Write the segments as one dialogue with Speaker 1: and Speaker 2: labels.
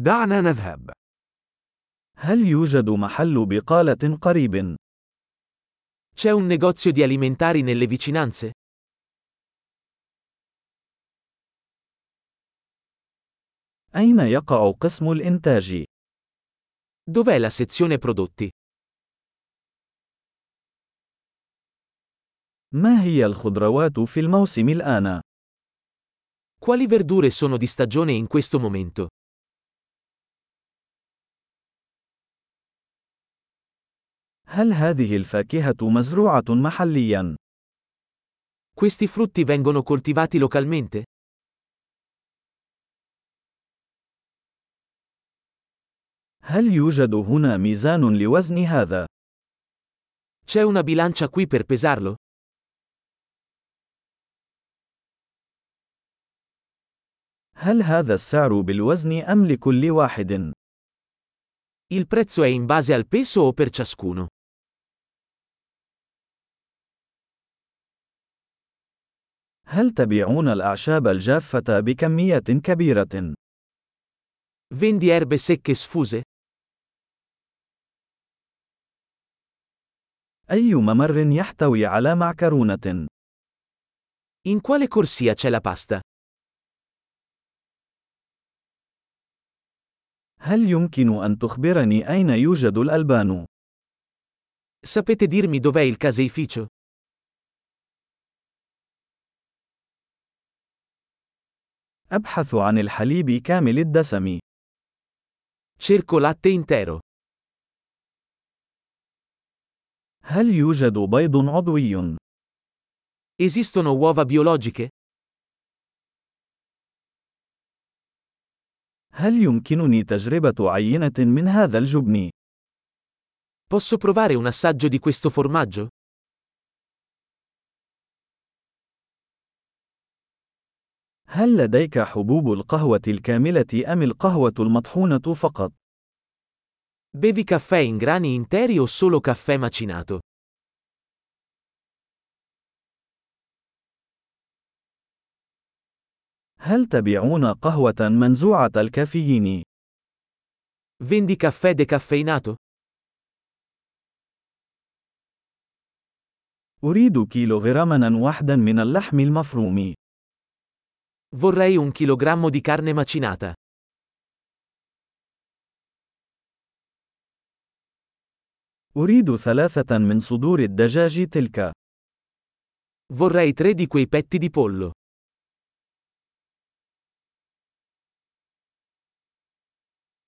Speaker 1: دعنا نذهب.
Speaker 2: هل يوجد محل بقالة قريب؟
Speaker 3: C'è un negozio di alimentari nelle vicinanze?
Speaker 2: أين يقع قسم الإنتاج؟
Speaker 3: Dov'è la sezione prodotti?
Speaker 2: ما هي الخضروات في الموسم الآن؟
Speaker 3: Quali verdure sono di stagione in questo momento?
Speaker 2: هل هذه الفاكهة مزروعة محلياً؟
Speaker 3: Questi frutti vengono coltivati localmente?
Speaker 2: هل يوجد هنا ميزان لوزن هذا؟
Speaker 3: C'è una bilancia qui per pesarlo?
Speaker 2: هل هذا السعر بالوزن أم لكل واحد؟
Speaker 3: Il prezzo è in base al peso o per ciascuno?
Speaker 2: هل تبيعون الأعشاب الجافة بكمية كبيرة؟
Speaker 3: Vendi erbe secche sfuse?
Speaker 2: أي ممر يحتوي على معكرونة؟
Speaker 3: In quale corsia c'è la pasta?
Speaker 2: هل يمكن أن تخبرني أين يوجد الألبان؟
Speaker 3: Sapete dirmi dov'è il caseificio?
Speaker 2: أبحث عن الحليب كامل الدسم.
Speaker 3: Cerco latte intero.
Speaker 2: هل يوجد بيض عضوي؟
Speaker 3: Esistono uova biologiche?
Speaker 2: هل يمكنني تجربة عينة من هذا الجبن؟
Speaker 3: Posso provare un assaggio di questo formaggio?
Speaker 2: هل لديك حبوب القهوة الكاملة أم القهوة المطحونة فقط؟
Speaker 3: Bevi caffè in grani interi o solo caffè macinato?
Speaker 2: هل تبيعون قهوة منزوعة الكافيين؟
Speaker 3: Vendi caffè decaffeinato?
Speaker 2: أريد كيلوغراما واحدا من اللحم المفروم.
Speaker 3: Vorrei un chilogrammo di carne macinata.
Speaker 2: أريد ثلاثة من صدور الدجاج تلك.
Speaker 3: Vorrei tre di quei petti di pollo.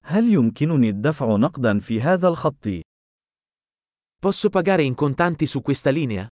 Speaker 2: هل يمكنني الدفع نقدا في هذا الخط؟
Speaker 3: Posso pagare in contanti su questa linea?